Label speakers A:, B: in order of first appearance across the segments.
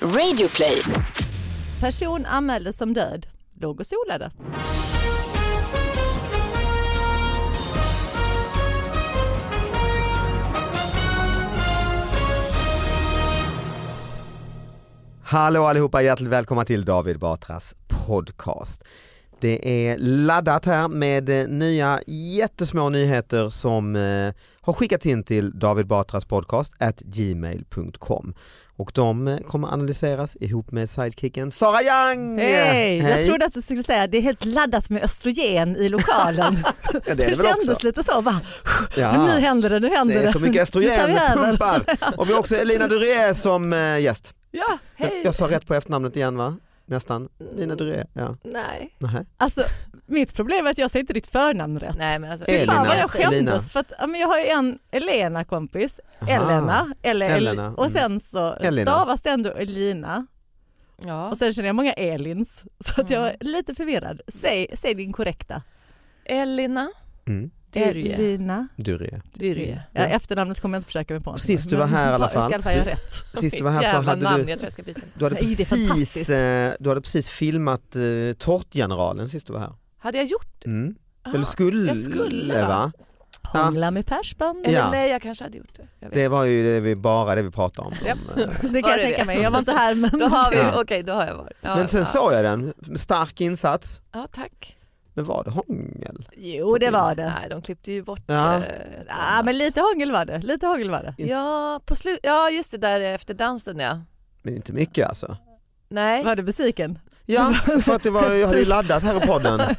A: Radioplay.
B: Person anmäldes som död, låg och solade.
C: Hallå allihopa, hjärtligt välkomna till David Batras podcast. Det är laddat här med eh, nya jättesmå nyheter som eh, har skickats in till David Batras podcast at gmail.com och de eh, kommer analyseras ihop med sidekicken Sara Young!
B: Hej! Jag
C: Hej.
B: trodde att du skulle säga att det är helt laddat med östrogen i lokalen.
C: Ja, det är det väl
B: kändes
C: också.
B: lite så bara,
C: Ja.
B: nu händer det, nu händer
C: Det
B: det.
C: är så mycket
B: Nu tar
C: östrogen
B: vi över.
C: pumpar. Och vi har också Elina Duré som eh, gäst.
B: Ja,
C: Jag,
B: hej.
C: jag sa rätt på efternamnet igen va? Nästan. Elina Duré, ja.
B: Nej.
C: Nähä.
B: Alltså, mitt problem är att jag säger inte ditt förnamn rätt.
D: Nej men alltså,
C: Elina.
B: Fan vad jag
C: Elina.
B: skämdes för att ja, men jag har ju en Elena kompis,
C: Aha.
B: Elena, eller El-
C: Elena, mm.
B: och sen så
C: Elena.
B: stavas det ändå Elina
D: Ja.
B: och sen känner jag många Elins så att jag
D: Mm.
B: är lite förvirrad. Säg, säg din korrekta.
D: Elina
C: Mm.
D: Dyrje.
B: Elina.
C: Duré.
D: Dyrje.
B: Ja, efternamnet kommer jag inte försöka mig på.
C: Sist du var här i alla
B: Jag ska
C: fall.
B: i alla fall göra rätt.
C: Sist du var här
D: Mitt
C: så
D: jävla
C: hade
D: namn,
C: du
D: jag tror jag ska byta.
C: Du hade,
B: Nej, det är
C: precis,
B: fantastiskt.
C: eh, du hade precis filmat eh, Tårtgeneralen sist du var här.
D: Hade jag gjort
C: Mm.
D: Aha,
C: Eller skulle,
D: jag skulle, va?
C: va? Ja.
B: Hångla med persband.
D: Eller
C: Ja.
D: nej, jag kanske hade gjort det. Jag vet.
C: Det var ju det vi, bara det vi pratade om.
D: Japp.
C: Eh,
B: Det kan
D: Var
B: jag
D: det
B: tänka
D: det?
B: mig. Jag var inte här men
D: Då har vi,
C: Ja.
D: okej då har jag varit. Ja,
C: Men sen
D: ja.
C: såg jag den, stark insats.
D: Ja tack.
C: Men var det hångel?
B: Jo det var det.
D: Nej de klippte ju bort.
C: Ja.
D: eh, ett
B: Ja, men lite hångel var det. Lite hångel var det.
D: Ja, på slut, ja just det där efter dansen ja.
C: Men inte mycket alltså.
D: Nej.
B: Var du besviken?
C: Ja, för att det var, jag hade ju laddat här i podden.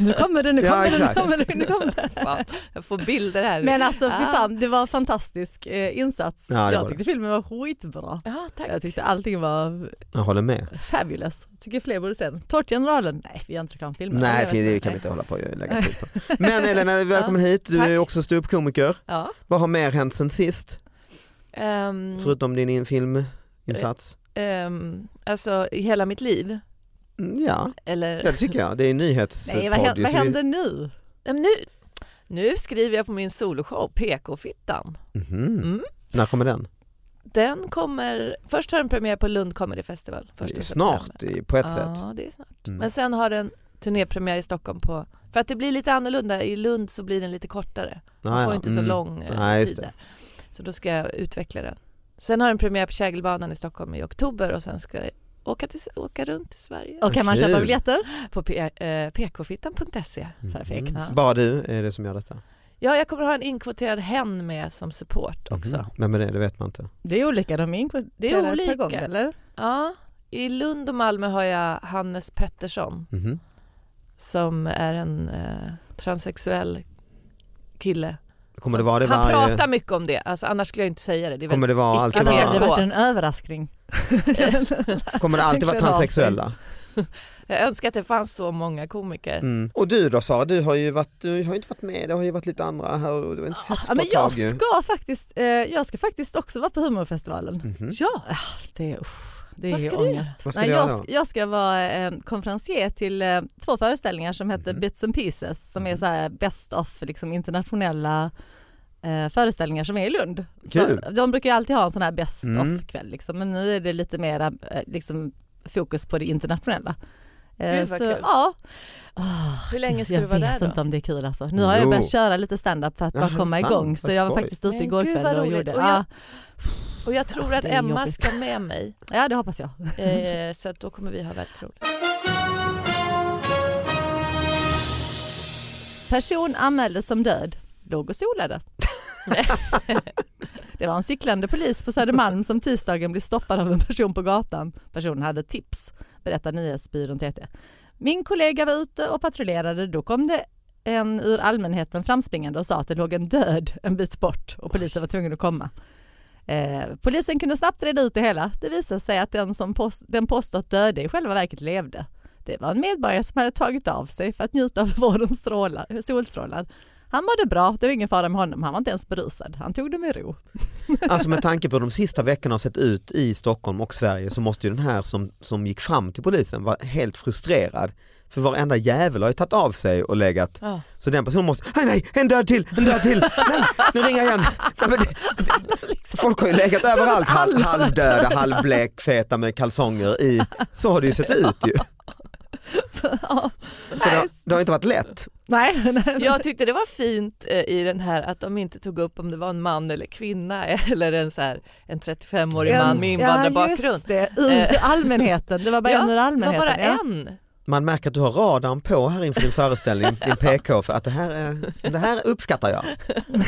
B: Nu kommer det, nu
C: Ja,
B: kommer det, nu
C: exakt.
B: kommer det, nu kommer det.
D: Fan, jag får bilder här.
B: Men alltså fy
D: Ah.
B: fan, det var en fantastisk eh, insats.
C: Ja, det var
B: jag
C: det.
B: tyckte filmen var skitbra.
D: Ja tack.
B: Jag tyckte allting var
C: Jag håller med.
B: fabulous. Tycker fler borde se den. Tårtgeneralen, nej vi gör inte reklamfilmer.
C: Nej,
B: Jag vet
C: det
B: inte.
C: kan vi inte hålla på och lägga tid på. Men Elena, välkommen hit. Du är
D: tack.
C: också ståuppkomiker.
D: Ja.
C: Vad har mer hänt sen sist?
D: ehm,
C: Förutom din in- filminsats?
D: ehm, alltså i hela mitt liv.
C: Mm, Ja,
D: Eller,
C: ja, det tycker jag. Det är en nyhetspodd.
B: Nej, vad, hä-
C: ju,
B: vad
C: så vi-
B: händer nu?
D: Nej, men Ehm, nu, nu skriver jag på min soloshow PK-fittan.
C: Mhm.
D: Mm.
C: När kommer den?
D: Den kommer, först har den premiär på Lund Comedy Festival. Första
C: Det är
D: september.
C: snart i- på ett sätt.
D: Ja, det är snart.
C: Mm.
D: Men sen har den turnépremiär i Stockholm på, för att det blir lite annorlunda, i Lund så blir den lite kortare. Man
C: Ah,
D: får
C: ja.
D: inte så
C: Mm.
D: lång eh,
C: Nej, just
D: tid där. Så då ska jag utveckla den. Sen har den premiär på Kägelbanan i Stockholm i oktober och sen ska jag åka, till, åka runt i Sverige
B: Och kan man
C: Kul.
B: köpa biljetter?
D: på p- eh, pkfittan.se.
B: Perfekt.
C: Mhm.
D: Ja.
C: Bara du är det som gör detta.
D: Ja, jag kommer ha en inkvoterad hen med som support också.
C: Mhm. Vem är det? Det vet man inte.
B: Det är olika, de är
D: Det
B: inkvoterade
D: är
B: per
D: olika.
B: gång eller?
D: Ja, i Lund och Malmö har jag Hannes Pettersson
C: Mhm.
D: som är en eh, transsexuell kille.
C: Kommer det vara det
D: Han
C: varje...
D: pratar mycket om det, alltså, annars skulle jag inte säga det. det är väl...
C: Kommer det, vara alltid
B: Annars hade
D: Ja.
B: det
C: vara,
B: varit en överraskning.
C: kommer det alltid vara
B: Verkligen
C: transsexuella?
D: Jag önskar att det fanns så många komiker.
C: Mm. Och du då Sara, du har ju varit, du har ju inte varit med, det har ju varit lite andra här och du har inte setts
B: Ah, Ja,
C: på
B: men
C: ett
B: jag
C: tag ju.
B: ska, faktiskt, eh, jag ska faktiskt också vara på humorfestivalen.
C: Mhm.
B: Ja, ah, det är, uff, det är
D: Vad
B: ju
D: ska du göra?
B: ångest.
C: Vad ska
B: Nej,
C: du göra
B: jag,
C: då?
B: ska- jag ska vara eh, konferencier till eh, två föreställningar som heter
C: Mhm.
B: Bits and Pieces som är
C: Mhm.
B: så här best of liksom, internationella eh, föreställningar som är i Lund.
C: Kul.
B: Så, de brukar ju alltid ha en sån här best
C: Mm.
B: of kväll liksom, men nu är det lite mera eh, liksom, fokus på det internationella. Eh,
D: Gud, vad
B: så,
D: kul.
B: ja.
D: Hur länge ska
B: jag
D: du vara där
B: vet
D: då?
B: inte om det är kul alltså. Nu har jag
C: Jo.
B: börjat köra lite stand-up för att bara
C: Jaha,
B: komma
C: sant.
B: igång så
C: Vad
B: jag var
C: skoj.
B: faktiskt ute
D: Men
B: igår
D: gud, vad
B: kväll och
D: roligt.
B: gjorde,
D: Och jag-
B: ja,
D: Och jag tror
B: Ja,
D: att
B: det är
D: Emma
B: jobbigt.
D: ska med mig,
B: ja det hoppas jag.
D: eh, så att då kommer vi ha väldigt roligt.
B: Person anmäldes som död, låg och solade. Det var en cyklande polis på Södermalm som tisdagen blev stoppad av en person på gatan. Personen hade tips, berättar nyhetsbyrån TT. Min kollega var ute och patrullerade, då kom det en ur allmänheten framspringande och sa att det låg en död en bit bort och polisen var tvungen att komma. Eh, polisen kunde snabbt reda ut det hela. Det visade sig att den som påst- den påstått döde i själva verket levde. Det var en medborgare som hade tagit av sig för att njuta av vårens strålar, solstrålar. Han mådde bra, det var ingen fara med honom, han var inte ens berusad. Han tog det med ro.
C: Alltså med tanke på hur de sista veckorna har sett ut i Stockholm och Sverige så måste ju den här som, som gick fram till polisen vara helt frustrerad. För varenda jävel har ju tagit av sig och legat.
D: Ja.
C: Så den personen måste, nej nej, en död till, en död till, nej, nu ringer jag igen. Nej, men det,
B: Liksom.
C: det, folk har ju legat överallt, hal, halvdöda, halvblekfeta med kalsonger i. Så har det ju sett ut ju.
B: Så, ja.
C: Så det, har- det har inte varit lätt.
B: Nej, nej.
D: Jag tyckte det var fint eh, i den här att de inte tog upp om det var en man eller kvinna eller en, så här, en 35-årig man med
B: Ja,
D: invandrarbakgrund. Eh.
B: just det. Ur allmänheten, det var bara
D: Ja,
B: en ur
D: Det var
B: allmänheten.
D: bara
B: ja.
D: en.
C: Man märker att du har radarn på här inför din föreställning, din PK, för att det här, är, det här uppskattar jag.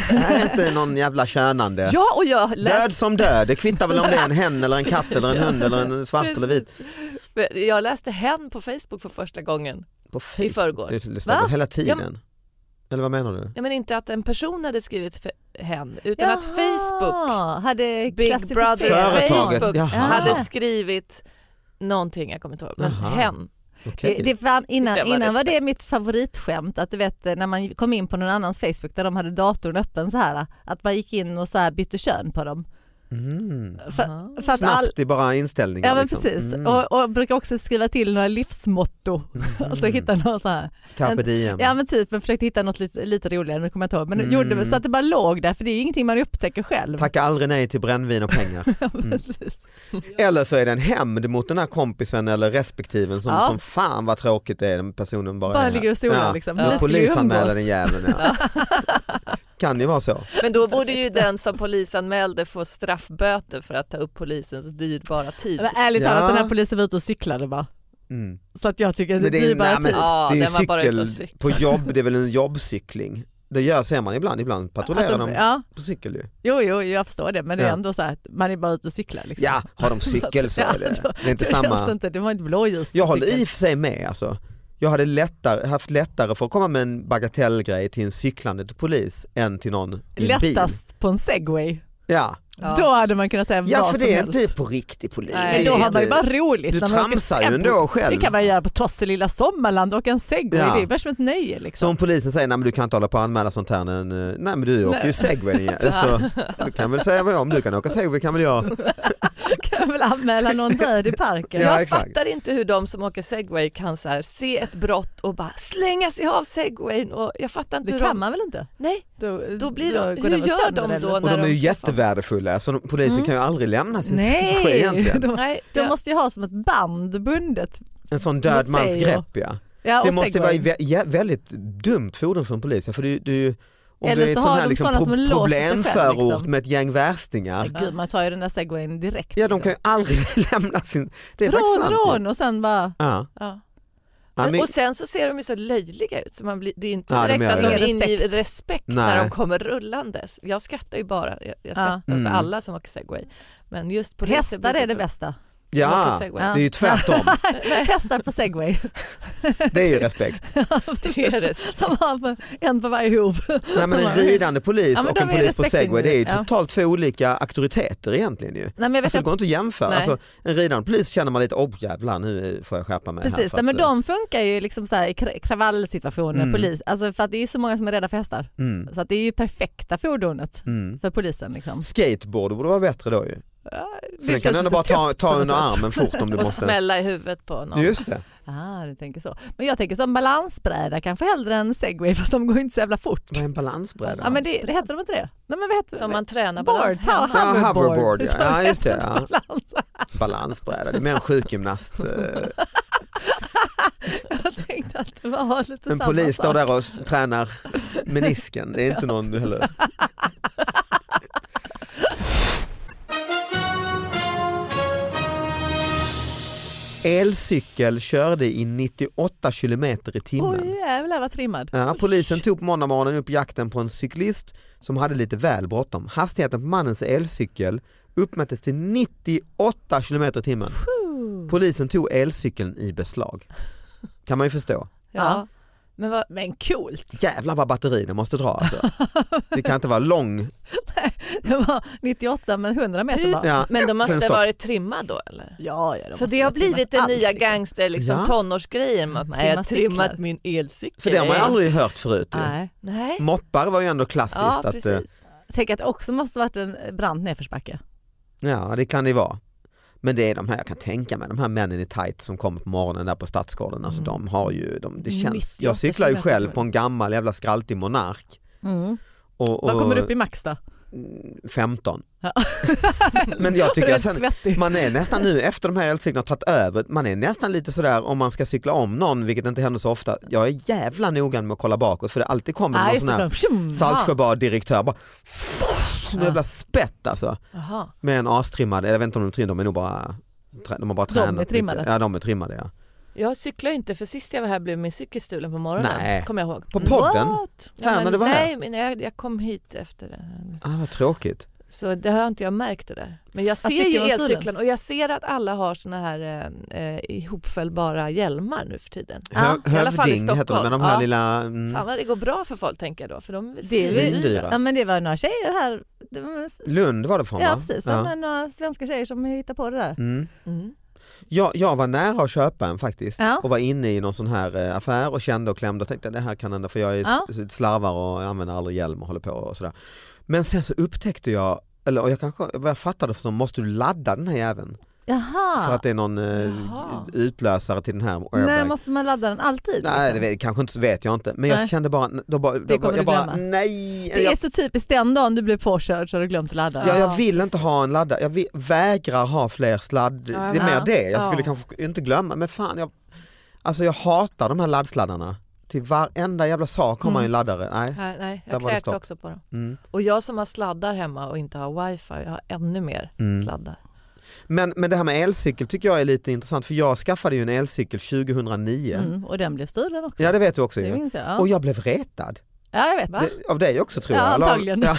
C: Det här är inte någon jävla könande.
D: Ja, och jag
C: Död
D: läste,
C: som död, det kvittar väl om det är en hen eller en katt eller en hund eller en svart eller vit.
D: jag läste hen på Facebook för första gången.
C: På Facebook,
D: förrgår.
C: det det står
D: Va?
C: väl hela tiden. Eller vad menar du?
D: Ja, men inte att en person hade skrivit för hen utan att Facebook,
B: Jaha, hade
D: Big
B: klassificerat-
D: Brother,
C: Företaget,
D: Facebook
C: jaha.
D: hade skrivit någonting, jag kommer inte ihåg, men
C: Jaha.
D: hen.
C: Okej.
B: Det, det fan, innan
D: Det var
B: innan var det mitt favoritskämt, att du vet eh, när man kom in på någon annans Facebook där de hade datorn öppen så här, att man gick in och så här bytte kön på dem.
C: Mm.
B: För,
D: Jaha.
B: för att all,
C: Snabbt i bara inställningar.
B: ja men
C: liksom.
B: precis,
C: Mm.
B: och, och brukar också skriva till några livsmotto. Alltså
C: Mm.
B: hitta något så här.
C: Carpe diem.
B: Ja men typ, jag försökte hitta något lite, lite roligare, nu kommer jag inte ihåg. Men
C: Mm.
B: gjorde väl så att det bara låg där, för det är ju ingenting man upptäcker själv.
C: Tacka aldrig nej till brännvin och pengar. Mm.
B: Precis.
C: Eller så är det en hämnd mot den här kompisen eller respektiven som,
B: Ja.
C: som fan vad tråkigt det är den personen bara,
B: Bara
C: är.
B: ligger och solar
C: Ja.
B: liksom.
D: Ja.
B: Vi
C: Ja.
B: skulle ju
C: Polisanmäla den
B: umgås.
C: jäveln. Ja. kan ju vara så.
D: Men då borde ju den som polisanmälde få straffböter för att ta upp polisens dyrbara tid.
B: Men ärligt
C: Ja.
B: talat, den här polisen var ute och cyklade bara.
C: Mm.
B: Så att jag tycker
C: Men
B: det,
C: det är-
B: blir bara
C: nej, men-
B: typ-
D: Ja,
C: det är ju
D: den var bara ute
C: cykel
D: och cyklade.
C: på jobb, det är väl en jobbcykling. Det gör, ser man ibland, ibland patrullerar
B: att de-
C: de
B: ja.
C: på cykel ju.
B: Jo, jo, jag förstår det, men det är
C: Ja.
B: ändå så här att man är bara ute och cyklar. Liksom.
C: Ja, har de cykel så
B: Ja,
C: är det.
B: alltså,
C: Det är inte
B: det känns
C: samma.
B: inte, det var inte blåljus.
C: Jag håller i och för sig med alltså. Jag hade lättare, haft lättare för att komma med en bagatellgrej till en cyklande polis än till någon i en bil.
B: Lättast på en segway.
C: Ja.
D: Ja.
B: Då hade man kunnat säga
C: ja,
B: vad
C: för
B: som
C: det är
B: helst.
C: inte på riktig polis.
D: Nej,
B: Men
C: Det
B: då
C: är
B: har man ju
C: inte-
B: bara roligt.
C: du
B: när man åker
C: tramsar ju
B: segway.
C: ändå själv.
B: Det kan man göra på Tosselilla Sommarland och åka en segway.
C: Ja.
B: Det är bara som ett nöje. Liksom.
C: Som polisen säger, nej men du kan inte hålla på och anmäla sånt här, men, eh, nej men du åker ju segway igen. Så, du kan väl säga vad jag om du kan åka segway kan väl jag.
B: kan man väl anmäla någon död i parken.
C: Ja,
D: jag
C: exakt.
D: fattar inte hur de som åker segway kan så här, se ett brott och bara slänga sig av segwayn. Och jag fattar inte
B: Det
D: hur
B: kan
D: de...
B: man väl inte?
D: Nej,
B: Då,
D: då blir
B: då
D: de...
B: går
D: hur
B: den väl
D: gör
B: sönder,
D: de
B: eller?
D: då?
C: Och de är ju
D: ska få-
C: jättevärdefulla så de- polisen
B: Mm.
C: kan ju aldrig lämna sin segway
B: Nej,
C: egentligen.
B: de,
D: Nej,
B: de
D: ja.
B: måste ju ha som ett band bundet.
C: En sån
B: Mot
C: död mans
B: sig och-
C: grepp ja.
B: Ja,
C: Det
B: och
C: måste vara
B: segway.
C: vä- jä- väldigt dumt fordon för en polis. ja, För du, du, om
B: Eller
C: du är
B: så
C: ett sån
B: har
C: här
B: de
C: liksom
B: sådana som
C: pro-
B: låser sig
C: problemförort
B: själv, liksom.
C: med ett gäng värstingar.
B: Ja, Gud, man tar ju den där segwayn direkt.
C: Ja de kan
B: liksom.
C: ju aldrig lämna sin... Det är faktiskt sant.
B: Rån,
C: ju.
B: rån och sen bara
C: Ja.
D: Ja.
C: Ja,
D: Men,
C: men,
D: och sen så ser de ju så löjliga ut så man blir, det är ju inte
C: Ja, de
D: direkt
C: gör
D: att de
B: det.
D: inger
B: Respekt.
D: respekt
C: Nej.
D: när de kommer rullandes. Jag skrattar ju bara, jag, jag skrattar
C: Ja. Mm.
D: för alla som åker segway. Men just poliser
B: hästar
D: blir så
B: är det
D: trött.
B: bästa.
D: De
C: ja,
D: åker segway.
C: det är ju tvärtom.
B: Hästar på segway.
C: Det är ju respekt.
D: Det är det.
B: De har för- en på varje hov.
C: Nej, men en ridande polis
B: Ja, men
C: och
B: de
C: en
B: är
C: polis på segway det är ju
B: respektingivna, ja.
C: totalt två olika auktoriteter egentligen ju.
B: Nej, men jag vet
C: Alltså, det
B: att,
C: går inte att jämföra.
D: Nej.
C: Alltså, en ridande polis känner man lite, oh jävlar nu får jag skärpa mig här.
B: precis,
C: för
B: nej, men
C: att, eh,
B: de funkar ju liksom så här i kra- kravallsituationer,
C: Mm.
B: polis. Alltså för att det är ju så många som är rädda för hästar.
C: eh, Mm,
B: Så att det är ju perfekta fordonet
C: mm.
B: för polisen. Liksom.
C: Skateboard borde vara bättre då ju. För den kan du ändå bara ta, ta under armen fort om du
D: Och
C: måste.
D: smälla i huvudet på någon.
C: Just det.
B: Ah, du tänker så. Men jag tänker som balansbräda kanske hellre än segway fast de går inte så jävla fort.
C: Vad är en balansbräda?
B: Ja, men det, det heter de inte det? Nej, men vad heter
D: Som
B: det?
D: man tränar
B: Board,
D: balans hemma.
C: Ja, hoverboard,
B: hoverboard.
C: ja. ja just det. Ja. Balansbräda, det är mer en sjukgymnast. eh,
B: Jag tänkte att det var lite
C: En
B: samma
C: polis
B: sak.
C: står där och tränar menisken, det är inte någon heller. Elcykel körde i 98 kilometer i timmen.
B: Oj jävlar vad trimmad.
C: Ja, polisen tog på måndag morgonen upp jakten på en cyklist som hade lite väl bråttom. Hastigheten på mannens elcykel uppmättes till 98 kilometer i timmen. typ- Polisen tog elcykeln i beslag. Kan man ju förstå.
D: Ja. Men vad,
B: Men coolt!
C: Jävlar vad batterierna måste dra alltså. Det kan inte vara lång.
B: Det var 98 men 100 meter
D: Hur-
B: bara.
C: Ja.
D: men de
C: Sen
D: måste
C: stopp.
D: ha varit trimmad då eller?
B: Ja, ja,
D: Så
B: måste
D: det har
B: vara trimmat.
D: blivit den
B: Allt,
D: nya
B: liksom.
D: gangster liksom,
C: Ja.
D: tonårsgrejen med att man
B: Trimma
D: jag har trimmat
B: Mm, cyklar.
D: min elcykel.
C: För det har man ju aldrig hört förut. Ju.
B: Nej.
D: Nej,
C: Moppar var ju ändå klassiskt.
D: ja
C: att, eh,
D: precis.
B: Tänk att det också måste varit en brant nedförsbacke.
C: ja det kan det ju vara. Men det är de här, jag kan tänka mig, de här männen i tight som kommer på morgonen där på Stadsgården. Alltså
B: Mm.
C: de har ju, de, det känns,
B: 98
C: jag cyklar ju
B: kilometer
C: själv
B: som-
C: på en gammal jävla skraltig monark. Och, och
B: Mm.
C: mm,
B: Vad kommer du upp i max då?
C: 15.
B: Ja.
C: Men jag tycker att
B: Rätt
C: sen,
B: svettig.
C: Man är nästan nu efter de här elcyklarna har tagit över, man är nästan lite sådär om man ska cykla om någon, vilket inte händer så ofta. Jag är jävla noga med att kolla bakåt för det alltid kommer
B: Ah,
C: någon
B: just
C: sån
B: det,
C: här
B: för de- tjum!
C: Saltsjöbad-direktör bara som en
B: Ja.
C: jävla spett alltså.
D: Jaha.
C: Med en astrimmad, jag vet inte om de är trimmade, de är nog bara de har bara
B: De är
C: tränat. mycket.
B: trimmade.
C: Ja de är trimmade ja.
D: Jag cyklar ju inte för sist jag var här blev min cykel stulen på morgonen.
C: Nej.
D: Kommer jag ihåg.
C: På podden? Här, när du var
D: nej,
C: här?
D: men jag, jag kom hit efter det.
C: Ah, vad tråkigt.
D: Så det har inte jag märkt det där. Men jag ser ju
B: cykeln var stulen?
D: elcyklarna och jag ser att alla har såna här eh, eh, ihopfällbara hjälmar nu för tiden.
B: Ja,
C: Hö-
D: i alla fall i
C: Hövding heter de, med de
D: Stockholm.
C: här
D: Ja.
C: lilla... Mm,
D: Fan vad det går bra för folk tänker jag då, för de är
B: Det är väl-
D: svindyra.
B: Ja, men det var några tjejer här. Det var,
C: Lund var det från
B: ja
C: va?
B: precis,
C: Ja.
B: ja. men några svenska tjejer som hittade på det där.
C: Mm.
D: Mm.
C: Jag, jag var nära att köpa en faktiskt
B: Ja.
C: och var inne i någon sån här eh, affär och kände och klämde och tänkte det här kan hända för jag är
B: Ja.
C: s- slarvar och jag använder aldrig hjälm och håller på och sådär. Men sen så upptäckte jag, eller och jag kanske, vad jag fattade för så måste du ladda den här jäveln
B: Jaha,
C: för att det är någon eh,
D: Jaha.
C: utlösare till den här airbag.
B: när måste man ladda den alltid?
C: Nej,
B: liksom?
C: det vet, kanske inte, vet jag inte. Men jag
B: Nej.
C: kände bara, då bara, då,
B: kommer
C: jag
B: du
C: bara
B: glömma.
C: nej.
B: det är
C: jag,
B: så typiskt den dagen du blir påkörd så har du glömt att ladda.
C: jag, jag
D: Ja,
C: vill inte ha en laddare, jag vi- vägrar ha fler sladd. det
D: Ja,
C: är mer
D: ja.
C: det, jag skulle
D: Ja.
C: kanske inte glömma, men fan jag, alltså jag hatar de här laddsladdarna. Till varenda jävla sak har man ju
B: Mm.
C: en laddare. Nej.
D: Nej, nej,
C: Där
D: jag
C: var det
D: kräks
C: stopp.
D: också på dem.
C: Mm.
D: Och jag som har sladdar hemma och inte har wifi, jag har ännu mer
C: Mm.
D: sladdar.
C: Men, men det här med elcykel tycker jag är lite intressant för jag skaffade ju en elcykel 2009.
B: Mm, och den blev stulen också.
C: Ja det vet du också
B: det
C: ju.
B: minns jag. Ja.
C: Och jag blev retad.
B: ja, jag vet.
C: Det, av dig också tror
B: Ja,
C: jag. Eller av-
B: antagligen.
C: Ja.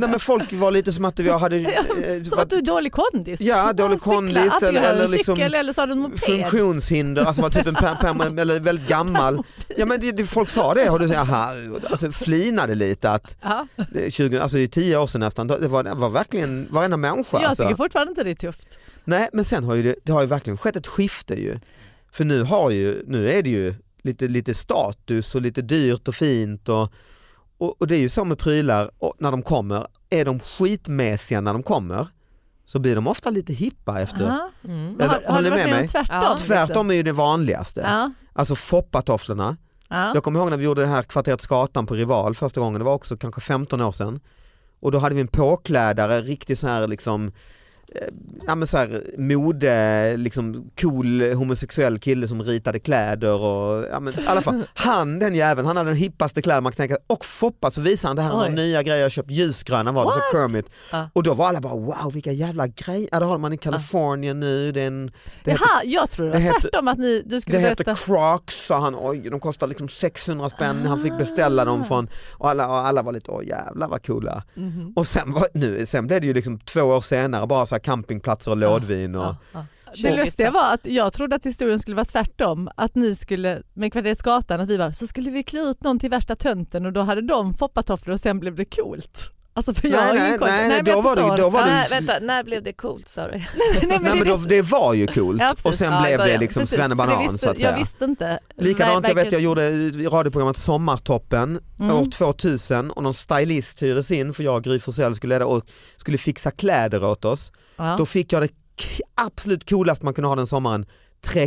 C: Nej, men folk var lite som att jag hade... eh,
B: Som
C: var-
B: att du är dålig kondis.
C: Ja, dålig
B: cyklar.
C: kondis
B: Antingen
C: eller-
B: har du
C: eller
B: en
C: liksom
B: cykel eller så har du en moped.
C: funktionshinder, alltså var typ en per, per, eller väldigt gammal. Ja men det, det, folk sa det och du säger aha, alltså flinade lite att
B: Ja.
C: det- 20, alltså det är tio år sedan nästan, det var, det var verkligen varenda människa.
B: Jag
C: Alltså.
B: tycker fortfarande inte det är tufft.
C: Nej men sen har ju det, det har ju verkligen skett ett skifte ju. För nu har ju, nu är det ju lite, lite status och lite dyrt och fint och, och, och det är ju så med prylar och när de kommer, är de skitmäsiga när de kommer så blir de ofta lite hippa efter.
B: Aha.
D: Mm.
C: Ja,
B: Har,
C: då-
B: har
C: håller
B: du
C: med
B: varit med
C: mig?
B: om tvärtom?
D: Ja.
B: liksom?
C: Tvärtom är ju det vanligaste.
B: Ja.
C: Alltså foppatofflorna.
B: Ja.
C: Jag kommer ihåg när vi gjorde det här kvarteret Skatan på Rival första gången, det var också kanske 15 år sedan. Och då hade vi en påklädare, riktigt så här liksom eh, Ja, men så här, mode, liksom cool homosexuell kille som ritade kläder och ja, men, i alla fall, han den jäveln, han hade den hippaste kläder man kan tänka och Foppa så visade han det här med
B: Oj.
C: nya grejer jag köpt, ljusgröna var det, så Kermit.
D: Ja.
C: Och då var alla bara wow vilka jävla grejer, ja, det har man i Kalifornien nu, det är en det heter-
B: Jaha, jag tror det var
C: det heter-
B: tvärtom att ni, du
C: det
B: skulle
C: heter
B: berätta.
C: Crocs sa han, oj de kostar liksom 600 spänn, han fick beställa
B: Ah.
C: dem från och alla, och alla var lite, åh jävlar vad coola.
D: Mhm.
C: Och sen, var, nu, sen blev det ju liksom två år senare bara så här campingplatser och lådvin och
D: Ja, ja.
B: Det lustiga var att jag trodde att historien skulle vara tvärtom. Att ni skulle, med Kvarterets Gatan, att vi bara, så skulle vi klä ut någon till värsta tönten och då hade de foppatofflor och sen blev det coolt. Alltså för jag
C: Nej,
B: har ingen
C: nej,
B: koll.
C: nej,
B: men jag
C: då var det ju-
B: förstår.
C: då var det-
D: Nej, vänta, när blev det coolt sa du?
B: nej, men
C: Nej
B: det
C: men
B: är
C: då,
B: så-
C: det var ju coolt
B: Ja, precis.
C: och sen
D: Ja, i
C: blev det
D: början.
C: liksom
B: Precis, för det
C: svennebanan
B: visste,
C: så att säga.
B: Jag visste inte.
C: Likadant, jag
B: Verkligen-
C: vet jag gjorde i radioprogrammet Sommartoppen
B: Mm.
C: år 2000 och någon stylist hyrdes in för jag och Gry Forssell skulle leda och skulle fixa kläder åt oss.
B: Ja.
C: Då fick jag det k- absolut coolaste man kunde ha den sommaren,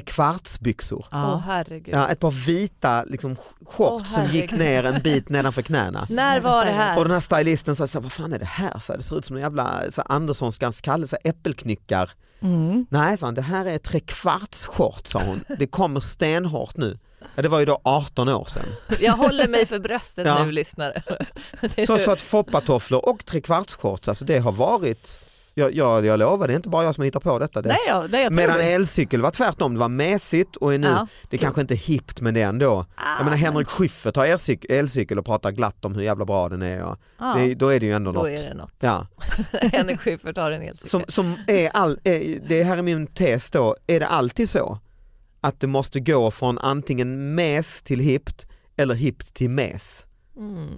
C: trekvartsbyxor.
D: Åh
B: Ja.
D: herregud.
C: Ja, ett par vita liksom, sh- shorts som
D: herregud.
C: gick ner en bit nedanför knäna.
D: När var det
C: Och
D: här?
C: den här stylisten sa, så här, vad fan är det här? Så här, det ser ut som en jävla så här, Anderssonskans Kalle, så här, äppelknyckar.
B: Mm.
C: Nej, sa han, det här är trekvarts short, sa hon. Det kommer stenhårt nu. Ja, det var ju då 18 år sedan.
D: Jag håller mig för bröstet
C: Ja.
D: nu lyssnare. Det är-
C: Så, så att foppatofflor och trekvartsshorts, alltså det har varit, jag, jag, jag lovar, det är inte bara jag som hittar på detta. Det.
B: Nej, jag, nej, jag tror
C: Medan
B: det.
C: elcykel var tvärtom, det var mässigt och är nu,
B: Ja.
C: det är kanske inte hippt men det är ändå. Jag
B: Ah.
C: menar Henrik Schyffert har elcyk- elcykel och pratar glatt om hur jävla bra den är. Och
B: Ah. Ja.
C: det, är- då är det ju ändå
D: Då
C: något.
D: är det något.
C: Ja.
D: Henrik Schyffert har en elcykel.
C: Som, som är all, är, det här är min tes då, är det alltid så? att det måste gå från antingen mes till hippt eller hippt till mes.
D: Mm.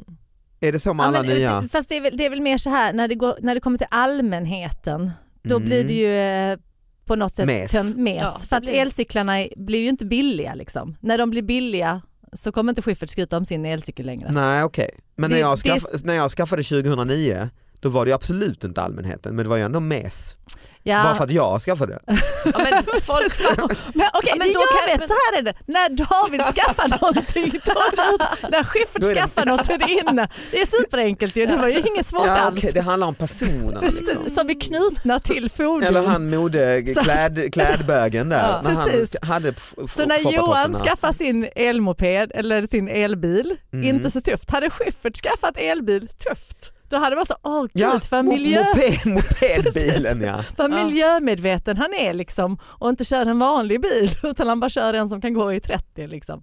C: Är det så med alla
B: Ja, men, eh,
C: nya?
B: Fast det är, väl, det är väl mer så här när det, går, när det kommer till allmänheten då
C: Mm.
B: blir det ju eh, på något sätt
C: Mes.
B: tömt mes.
D: Ja,
B: för
D: det
B: att
D: blir det.
B: elcyklarna är- blir ju inte billiga liksom. När de blir billiga så kommer inte Schyffert skryta om sin elcykel längre.
C: Mm. Nej okej, men
B: Det-
C: när, jag
B: det-
C: skaff, när jag skaffade 2009 då var det ju absolut inte allmänheten men det var ju ändå mes. Bara för att jag skaffade.
D: Ja, men folk,
B: Men okej,
D: Ja, men
B: det
D: då
B: jag
D: kan-
B: vet, så här är det. När David skaffar någonting, då är det ut. När Schyffert
C: Då är det-
B: skaffar något så är det inne. Det är superenkelt ju, det var ju inget svårt
C: Ja,
B: alls.
C: okej, det handlar om personerna. Liksom.
B: Som är knutna till fordon.
C: Eller han mode,
B: Så-
C: kläd, klädbögen där.
D: Ja.
C: när han
B: Precis.
C: ska- hade f- f-
B: Så när Johan
C: foppatofforna.
B: skaffar sin elmoped eller sin elbil,
C: Mm.
B: inte så tufft. Hade Schyffert skaffat elbil, tufft. Då hade man så, åh gud
C: Ja,
B: vad,
C: mo-
B: miljö,
C: moped, mopedbilen ja.
B: vad
D: Ja.
B: miljömedveten han är liksom och inte kör en vanlig bil utan han bara kör en som kan gå i 30 liksom.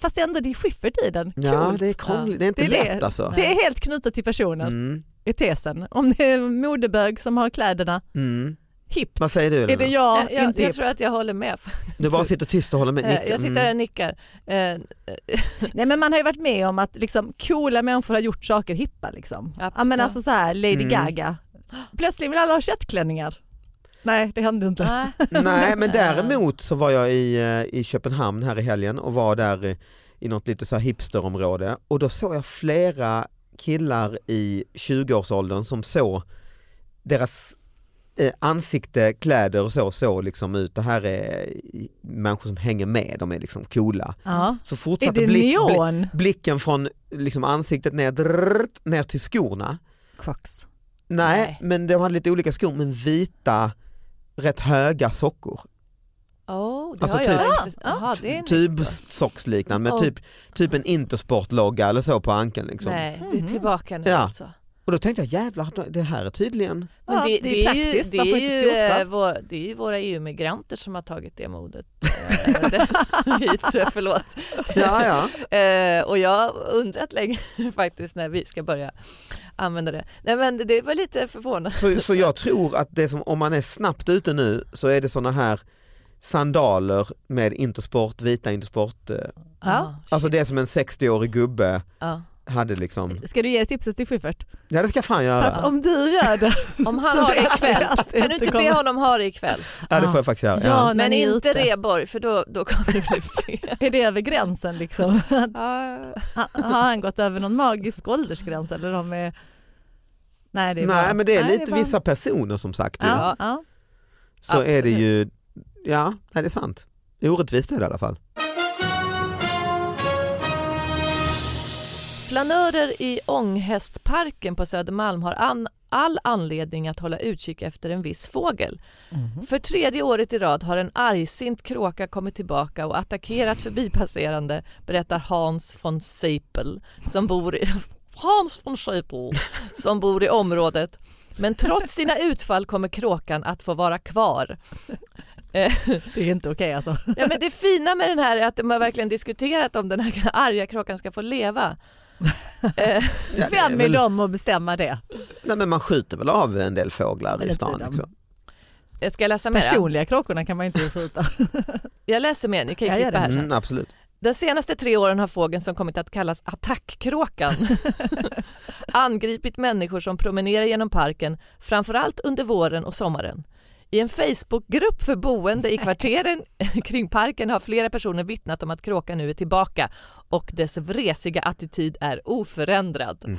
B: Fast ändå det är Schyffert i den, coolt.
C: Ja det är krångligt, det är inte
B: Det är det.
C: lätt alltså.
B: Det är helt knutet till personen
C: Mm.
B: i tesen. Om det är en modebög som har kläderna,
C: Mm.
B: hippt.
C: Vad säger du
B: Är det
C: Elina?
B: jag,
D: jag, jag,
B: inte
D: jag
B: hippt?
D: tror att jag håller med.
C: Du bara sitter tyst och håller med.
D: Eh,
C: nickar.
D: Jag sitter här och nickar. Eh,
B: Nej men man har ju varit med om att liksom, coola människor har gjort saker hippa liksom.
D: Ja,
B: Ja men
D: ja.
B: alltså så här, Lady
C: Mm.
B: Gaga. Plötsligt vill alla ha köttklänningar. Nej det hände inte.
D: nej.
C: Nej men däremot så var jag i, eh, i Köpenhamn här i helgen och var där eh, i något lite så här hipsterområde och då såg jag flera killar i 20-årsåldern som såg deras eh, ansikte, kläder och så såg liksom ut. Det här är eh, människor som hänger med, de är liksom coola.
B: Ja.
C: Så
B: Mm. Är
C: fortsatte
B: det
C: blick, blick,
B: neon?
C: blicken från liksom ansiktet ner, drrrt, ner till skorna.
B: Crocs.
C: Nej,
D: Nej.
C: men de hade lite olika skor men vita, rätt höga sockor.
D: Oh, det
C: Alltså
D: har jag
B: typ-
D: inte. Jaha, det är en-
C: Tubsocksliknande med
D: Och-
C: typ, typ en Intersport-logga eller så på ankeln. Liksom.
D: Nej, det är
B: Mhm.
D: tillbaka nu
C: Ja.
D: alltså.
C: Och då tänkte jag jävlar det här är tydligen,
D: Men
B: Ja, det är praktiskt,
D: ju,
B: man
D: det,
B: får
D: är
B: inte
D: ju,
B: skoskav.
D: eh, vår, det är ju våra EU-migranter som har tagit det modet eh, hit, förlåt.
C: ja ja.
D: Eh, och jag har undrat länge faktiskt när vi ska börja använda det. Nej men det- det var lite förvånande.
C: Så, så jag tror att det som, om man är snabbt ute nu så är det sådana här sandaler med Intersport, vita Intersport. eh,
B: Ja.
C: Alltså det som en 60-årig gubbe
D: Ja.
C: hade liksom.
B: Ska du ge tipset till Schyffert?
C: Ja det ska jag fan
B: För
C: göra.
B: att om du gör det
D: Om
B: så
D: han har det
B: vet vi
D: ikväll,
B: att det
D: kan du inte
B: kommer-
D: be honom ha det ikväll?
C: Ja det får jag faktiskt göra.
B: Ja,
C: Ja.
B: när
D: Men
B: ni är
D: inte
B: ute.
D: Reborg för då, då kommer det bli fel.
B: Är det över gränsen liksom?
D: Ja.
B: Ha- Har han gått över någon magisk åldergräns eller de är... Nej det är bara...
C: Nej men det är
D: Nej, det är
C: lite
D: bara-
C: vissa personer som sagt ju.
B: Ja, ja.
C: så är det
D: absolut.
C: ju, ja nej, det är sant. Orättvist är det i alla fall.
D: Flanörer i Ånghästparken på Södermalm har an, all anledning att hålla utkik efter en viss fågel.
B: Mm.
D: För tredje året i rad har en argsint kråka kommit tillbaka och attackerat förbipasserande, berättar Hans von Seipel som bor i, Hans von Seipel, som bor i området. Men trots sina utfall kommer kråkan att få vara kvar.
B: Det är inte okej alltså.
D: Ja, men det fina med den här är att de har verkligen diskuterat om den här arga kråkan ska få leva. Eh,
C: Ja, det
B: Vem är
C: väl-
B: de att bestämma det?
C: Nej men man skjuter väl av en del fåglar
B: Men
C: i
B: inte
C: stan.
B: dem.
C: Liksom.
D: jag ska läsa mer.
B: Personliga kråkorna kan man ju inte skjuta.
D: Jag läser mer, ni kan ju
B: Jag gör
D: klippa här sen.
C: Mm, absolut.
D: De senaste tre åren har fågeln som kommit att kallas attackkråkan angripit människor som promenerar genom parken, framförallt under våren och sommaren. I en Facebookgrupp för boende i kvarteren kring parken har flera personer vittnat om att kråkan nu är tillbaka och dess vresiga attityd är oförändrad.
C: Mhm.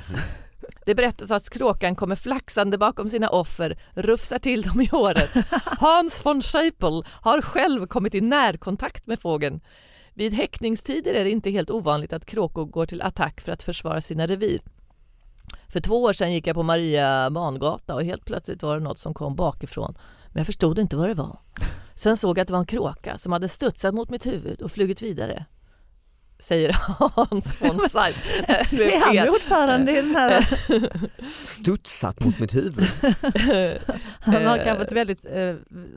D: Det berättas att kråkan kommer flaxande bakom sina offer, rufsar till dem i håret. Hans von Scheipel har själv kommit i närkontakt med fågeln. Vid häckningstider är det inte helt ovanligt att kråkor går till attack för att försvara sina revir. För två år sedan gick jag på Maria Mangata och helt plötsligt var det något som kom bakifrån. Men jag förstod inte vad det var. Sen såg jag att det var en kråka som hade studsat mot mitt huvud och flugit vidare. Säger Hans von Seip.
B: Är han ordförande i den här?
C: Studsat mot mitt huvud.
B: Han har kanske ett väldigt eh,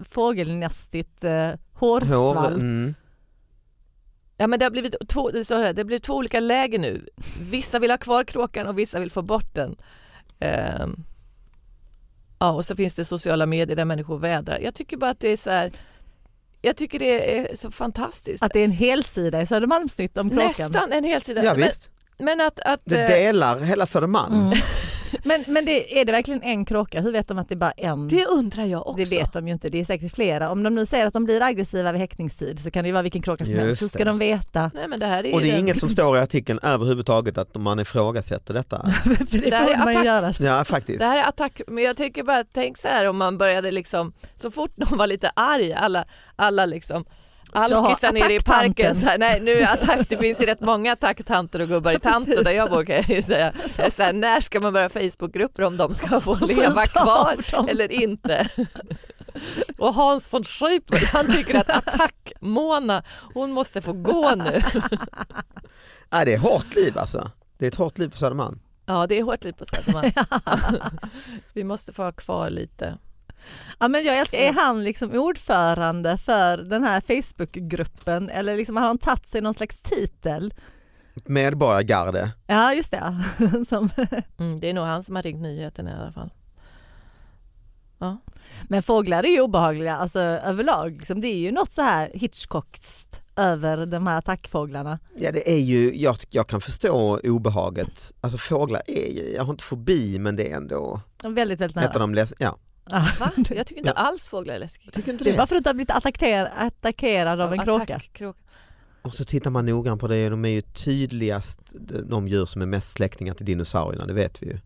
B: fågelnästigt eh,
C: Hår,
B: hårsvall.
C: mm.
D: Ja, men det, har blivit två, det, står här, det blir två olika läger nu. Vissa vill ha kvar kråkan och vissa vill få bort den. Ehm, ja, och så finns det sociala medier där människor vädrar. Jag tycker bara att det är så här... Jag tycker det är så fantastiskt.
B: Att det är en hel sida i Södermalmsnytt om kråkan.
D: Nästan en hel sida.
C: Ja,
D: men,
C: visst.
D: men att, att
C: Det
D: eh,
C: delar hela Södermalm.
B: Mm. Men, men det, är det verkligen en kråka? Hur vet de att det är bara en?
D: det undrar jag också.
B: Det vet de ju inte, det är säkert flera. Om de nu säger att de blir aggressiva vid häckningstid så kan det ju vara vilken kråka som
C: Just
B: helst. Hur ska
C: det.
B: de veta?
D: Nej, men det här är
C: Och det är
D: den-
C: inget som står i artikeln överhuvudtaget att man ifrågasätter detta.
B: För det
D: Där är
B: borde man ju
D: attack.
B: göra.
C: Ja faktiskt.
D: Det här är attack, men jag tycker bara tänk så här om man började liksom, så fort någon var lite arg, alla, alla liksom Alkisar nere i
B: attacktanten.
D: parken, så här, nej nu är attack, det finns ju rätt många attacktanter och gubbar i Tanto där jag bor kan jag ju säga. Så här, när ska man börja Facebookgrupper om de ska få leva
B: ta
D: kvar
B: av dem.
D: eller inte? Och Hans von Schäuble, han tycker att attack-Mona, hon måste få gå nu.
C: Ja, det är hårt liv alltså. Det är ett hårt liv på Södermalm.
D: Ja det är hårt liv på Södermalm. Vi måste få ha kvar lite.
B: Ja, men jag älskar, är han liksom ordförande för den här Facebookgruppen eller liksom har han tagit sig någon slags titel?
C: Medborgargarde.
B: Ja just det. Som,
D: Mm, det är nog han som har ringt nyheten i alla fall.
B: men fåglar är ju obehagliga alltså, överlag. Liksom, det är ju något så här Hitchcockskt över de här attackfåglarna.
C: Ja det är ju, jag, jag kan förstå obehaget. Alltså fåglar är ju, jag har inte fobi men det är ändå,
B: De är Väldigt, väldigt
C: heter
B: nära.
C: de läs- ja.
B: Ja.
D: Va? Jag tycker inte alls fåglar är läskiga.
C: Tycker inte
B: Det är bara
C: det?
B: för att du har blivit attackerad, attackerad av en kråka.
D: Attack, kråka.
C: Och så tittar man noggrant på det, de är ju tydligast de djur som är mest släktingar till dinosaurierna, det vet vi ju.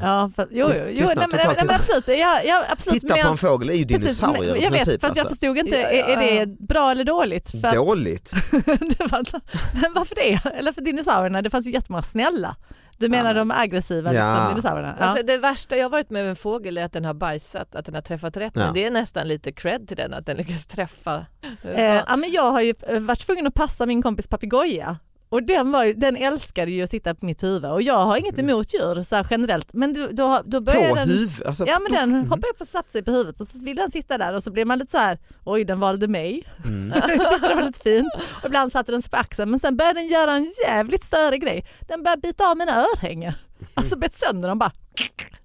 B: Ja, för, jo,
C: Tyst-
B: jo, jo
C: tystnad,
B: nej, men, nej,
C: total
B: men
C: tystnad.
B: absolut. Ja, ja, absolut
C: Titta på
B: men-
C: en fågel är ju
B: Precis, men-
C: dinosaurier i
B: Jag vet,
C: princip.
B: fast jag
C: alltså.
B: förstod inte,
D: Ja, ja,
B: är, är
D: ja.
B: det bra eller dåligt? För att-
C: Dåligt.
B: det var, men varför det? Eller för dinosaurierna, det fanns ju jättemånga snälla. Du menar
C: men-
B: de aggressiva
C: Ja.
B: liksom, dinosaurierna? Ja.
D: Alltså, det värsta jag varit med en fågel är att den har bajsat, att den har träffat rätt.
C: Ja.
D: Men det är nästan lite cred till den att den lyckas träffa.
B: Eh, ja, men jag har ju eh, varit tvungen att passa min kompis papegoja. Och den, var ju, den älskade ju att sitta på mitt huvud och jag har inget emot djur så här generellt men då, då, då började
C: Mm. På
B: den
C: huvudet. Alltså,
B: Ja men
C: poff.
B: den hoppar upp och satte sig på huvudet och så vill den sitta där och så blir man lite så här, oj den valde mig.
C: Mm.
B: Jag tyckte det var lite fint. Och ibland satte den sig på axeln men sen började den göra en jävligt större grej. Den började bita av mina örhängen. Alltså bet sönder dem bara.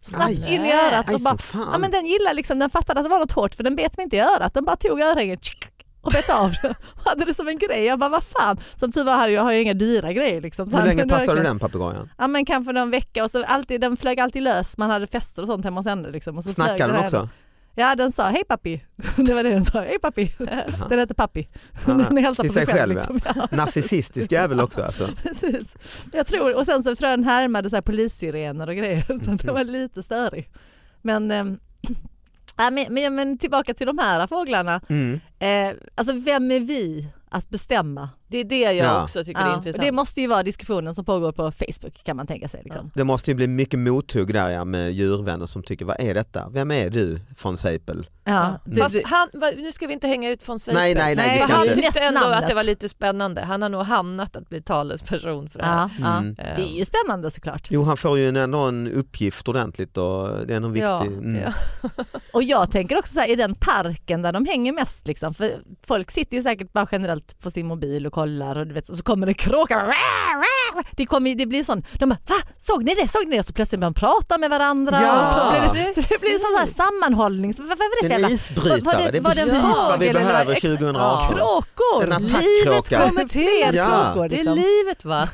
B: Snabbt
C: Aj.
B: in i örat
C: Aj
B: och bara,
C: som fan.
B: ja men den gillar liksom, den fattade att det var något hårt för den bet mig inte i örat. Den bara tog örhängen tsk, och bet av det. Och hade det som en grej. Jag bara vad fan. Som tur var hade jag, har jag inga dyra grejer liksom. Så
C: Hur
B: han
C: länge
B: kunde
C: passade du
B: verkligen-
C: den papegojan?
B: Ja men kanske någon vecka och så alltid, den flög alltid lös, man hade fester och sånt hemma hos henne. Liksom, och så flög
C: Snackade den
B: här-
C: också?
B: Ja den sa hej pappi, det var det den sa, hej pappi. Den hette pappi, den hälsade på
C: Till
B: sig
C: sig
B: själv.
C: själv, ja.
B: liksom. ja.
C: Narcissistisk jävel också alltså.
B: precis. Jag tror, och sen så tror jag den härmade så här polissirener och grejer så att den var lite störig. Men, ehm, ja, men, men, men tillbaka till de här fåglarna,
C: Mm.
B: eh, alltså vem är vi att bestämma?
D: Det är det jag
C: Ja.
D: också tycker
B: Ja,
D: är
B: och
D: intressant.
B: det måste ju vara diskussionen som pågår på Facebook kan man tänka sig. Liksom.
C: Det måste ju bli mycket mothugg där ja, med djurvänner som tycker vad är detta? Vem är du von Seipel?
B: Ja, typ.
C: det-
D: Fast han, va- nu ska vi inte hänga ut von Seipel.
C: Nej, nej, nej, vi
B: Nej,
D: För
C: ska
D: han
B: det är
C: inte.
B: ju
D: tyckte ändå att
B: nästnamnet.
D: det var lite spännande. Han har nog hamnat att bli talesperson för det här.
B: ja, ja.
C: Mm.
D: Eh,
B: Det är ju spännande såklart.
C: Jo han får ju en- ändå en uppgift ordentligt och det är någon
D: ja,
C: viktig. Mm.
D: ja.
B: Och jag tänker också så här, i den parken där de hänger mest, liksom, för folk sitter ju säkert bara generellt på sin mobil och kollar och, du vet, och så kommer det kråka. Det, kommer, ju- det blir sån, de bara va? Såg ni det? Såg ni det? Och så plötsligt börjar de prata med varandra.
C: Ja.
B: Och så, blir det,
D: Precis.
B: Ah. så det blir sån här sammanhållning. Så, vad, vad var det
C: Det
B: för
C: är en
B: jävla...
C: isbrytare,
B: Var- var det-
C: det är
B: var det en
C: precis vad vi
B: fågel eller
C: behöver
B: ex-
C: 2018.
B: Kråkor!
C: En
B: Livet
C: attackkråka.
B: kommer till
C: Ja.
B: kråkor.
D: Det
B: Liksom.
D: är livet va?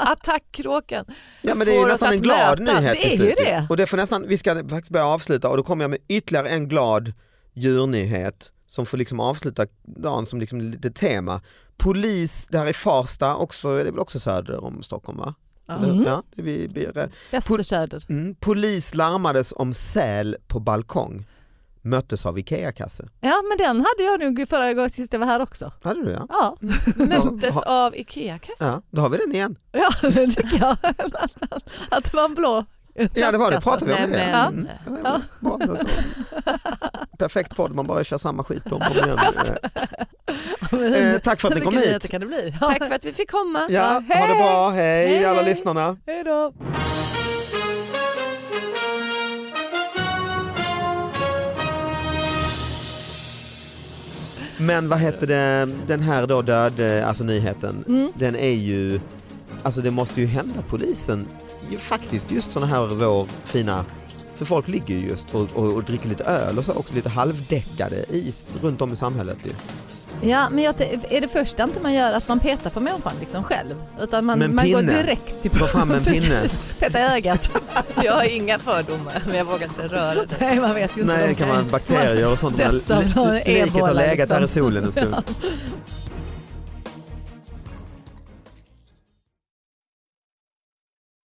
D: Attackkråkan.
C: Ja men det är
D: Får
C: ju
D: oss
C: nästan
D: att
C: en glad
D: mötas.
C: nyhet
B: Det är
C: till
B: ju
C: slut.
B: det.
C: Och det får nästan, vi ska faktiskt börja avsluta och då kommer jag med ytterligare en glad djurnyhet som får liksom avsluta dagen som liksom lite tema. Polis, det här är Farsta, också, det är väl också söder om Stockholm va?
B: Mm.
C: Ja, det vi, vi,
B: Västerköder.
C: mm. Polis larmades om säl på balkong, möttes av IKEA-kasse.
B: Ja men den hade jag nog förra gången sist jag var här också.
C: Hade du ja?
B: Ja,
D: Möttes av Ikea-kassan.
C: Ja, då har vi den igen.
B: ja det tycker jag. Att det var en blå
C: Ja det var det, pratade vi om
D: Nej,
C: det?
D: men- eh,
C: Mm. Ja, bra. Perfekt podd, man bara kör samma skit om och om igen. Eh, tack för att ni kom hit.
B: kan det bli?
D: Tack för att vi fick komma.
C: Ja, ha det bra, hej,
B: Hej,
C: alla
B: hej.
C: lyssnarna.
B: Hej då.
C: Men vad heter det, den här då död, alltså nyheten, den är ju, alltså det måste ju hända polisen, ju faktiskt just sådana här vår fina För folk ligger ju just och, och, och dricker lite öl och så också lite halvdäckade is runt om i samhället ju.
B: Ja, men jag, t- är det första inte man gör att man petar på människan liksom själv? Utan
C: Med en
B: man, man går
C: pinne.
B: direkt till...
C: Ta fram en pinne.
B: Peta i ögat.
D: Jag har inga fördomar men jag vågar inte röra det.
B: Nej, man vet ju inte.
C: Nej,
B: vad de
C: det kan vara bakterier och sånt.
B: Dött av
C: li-
B: någon
C: Liket har
B: ebola,
C: legat där i
B: liksom.
C: solen en stund.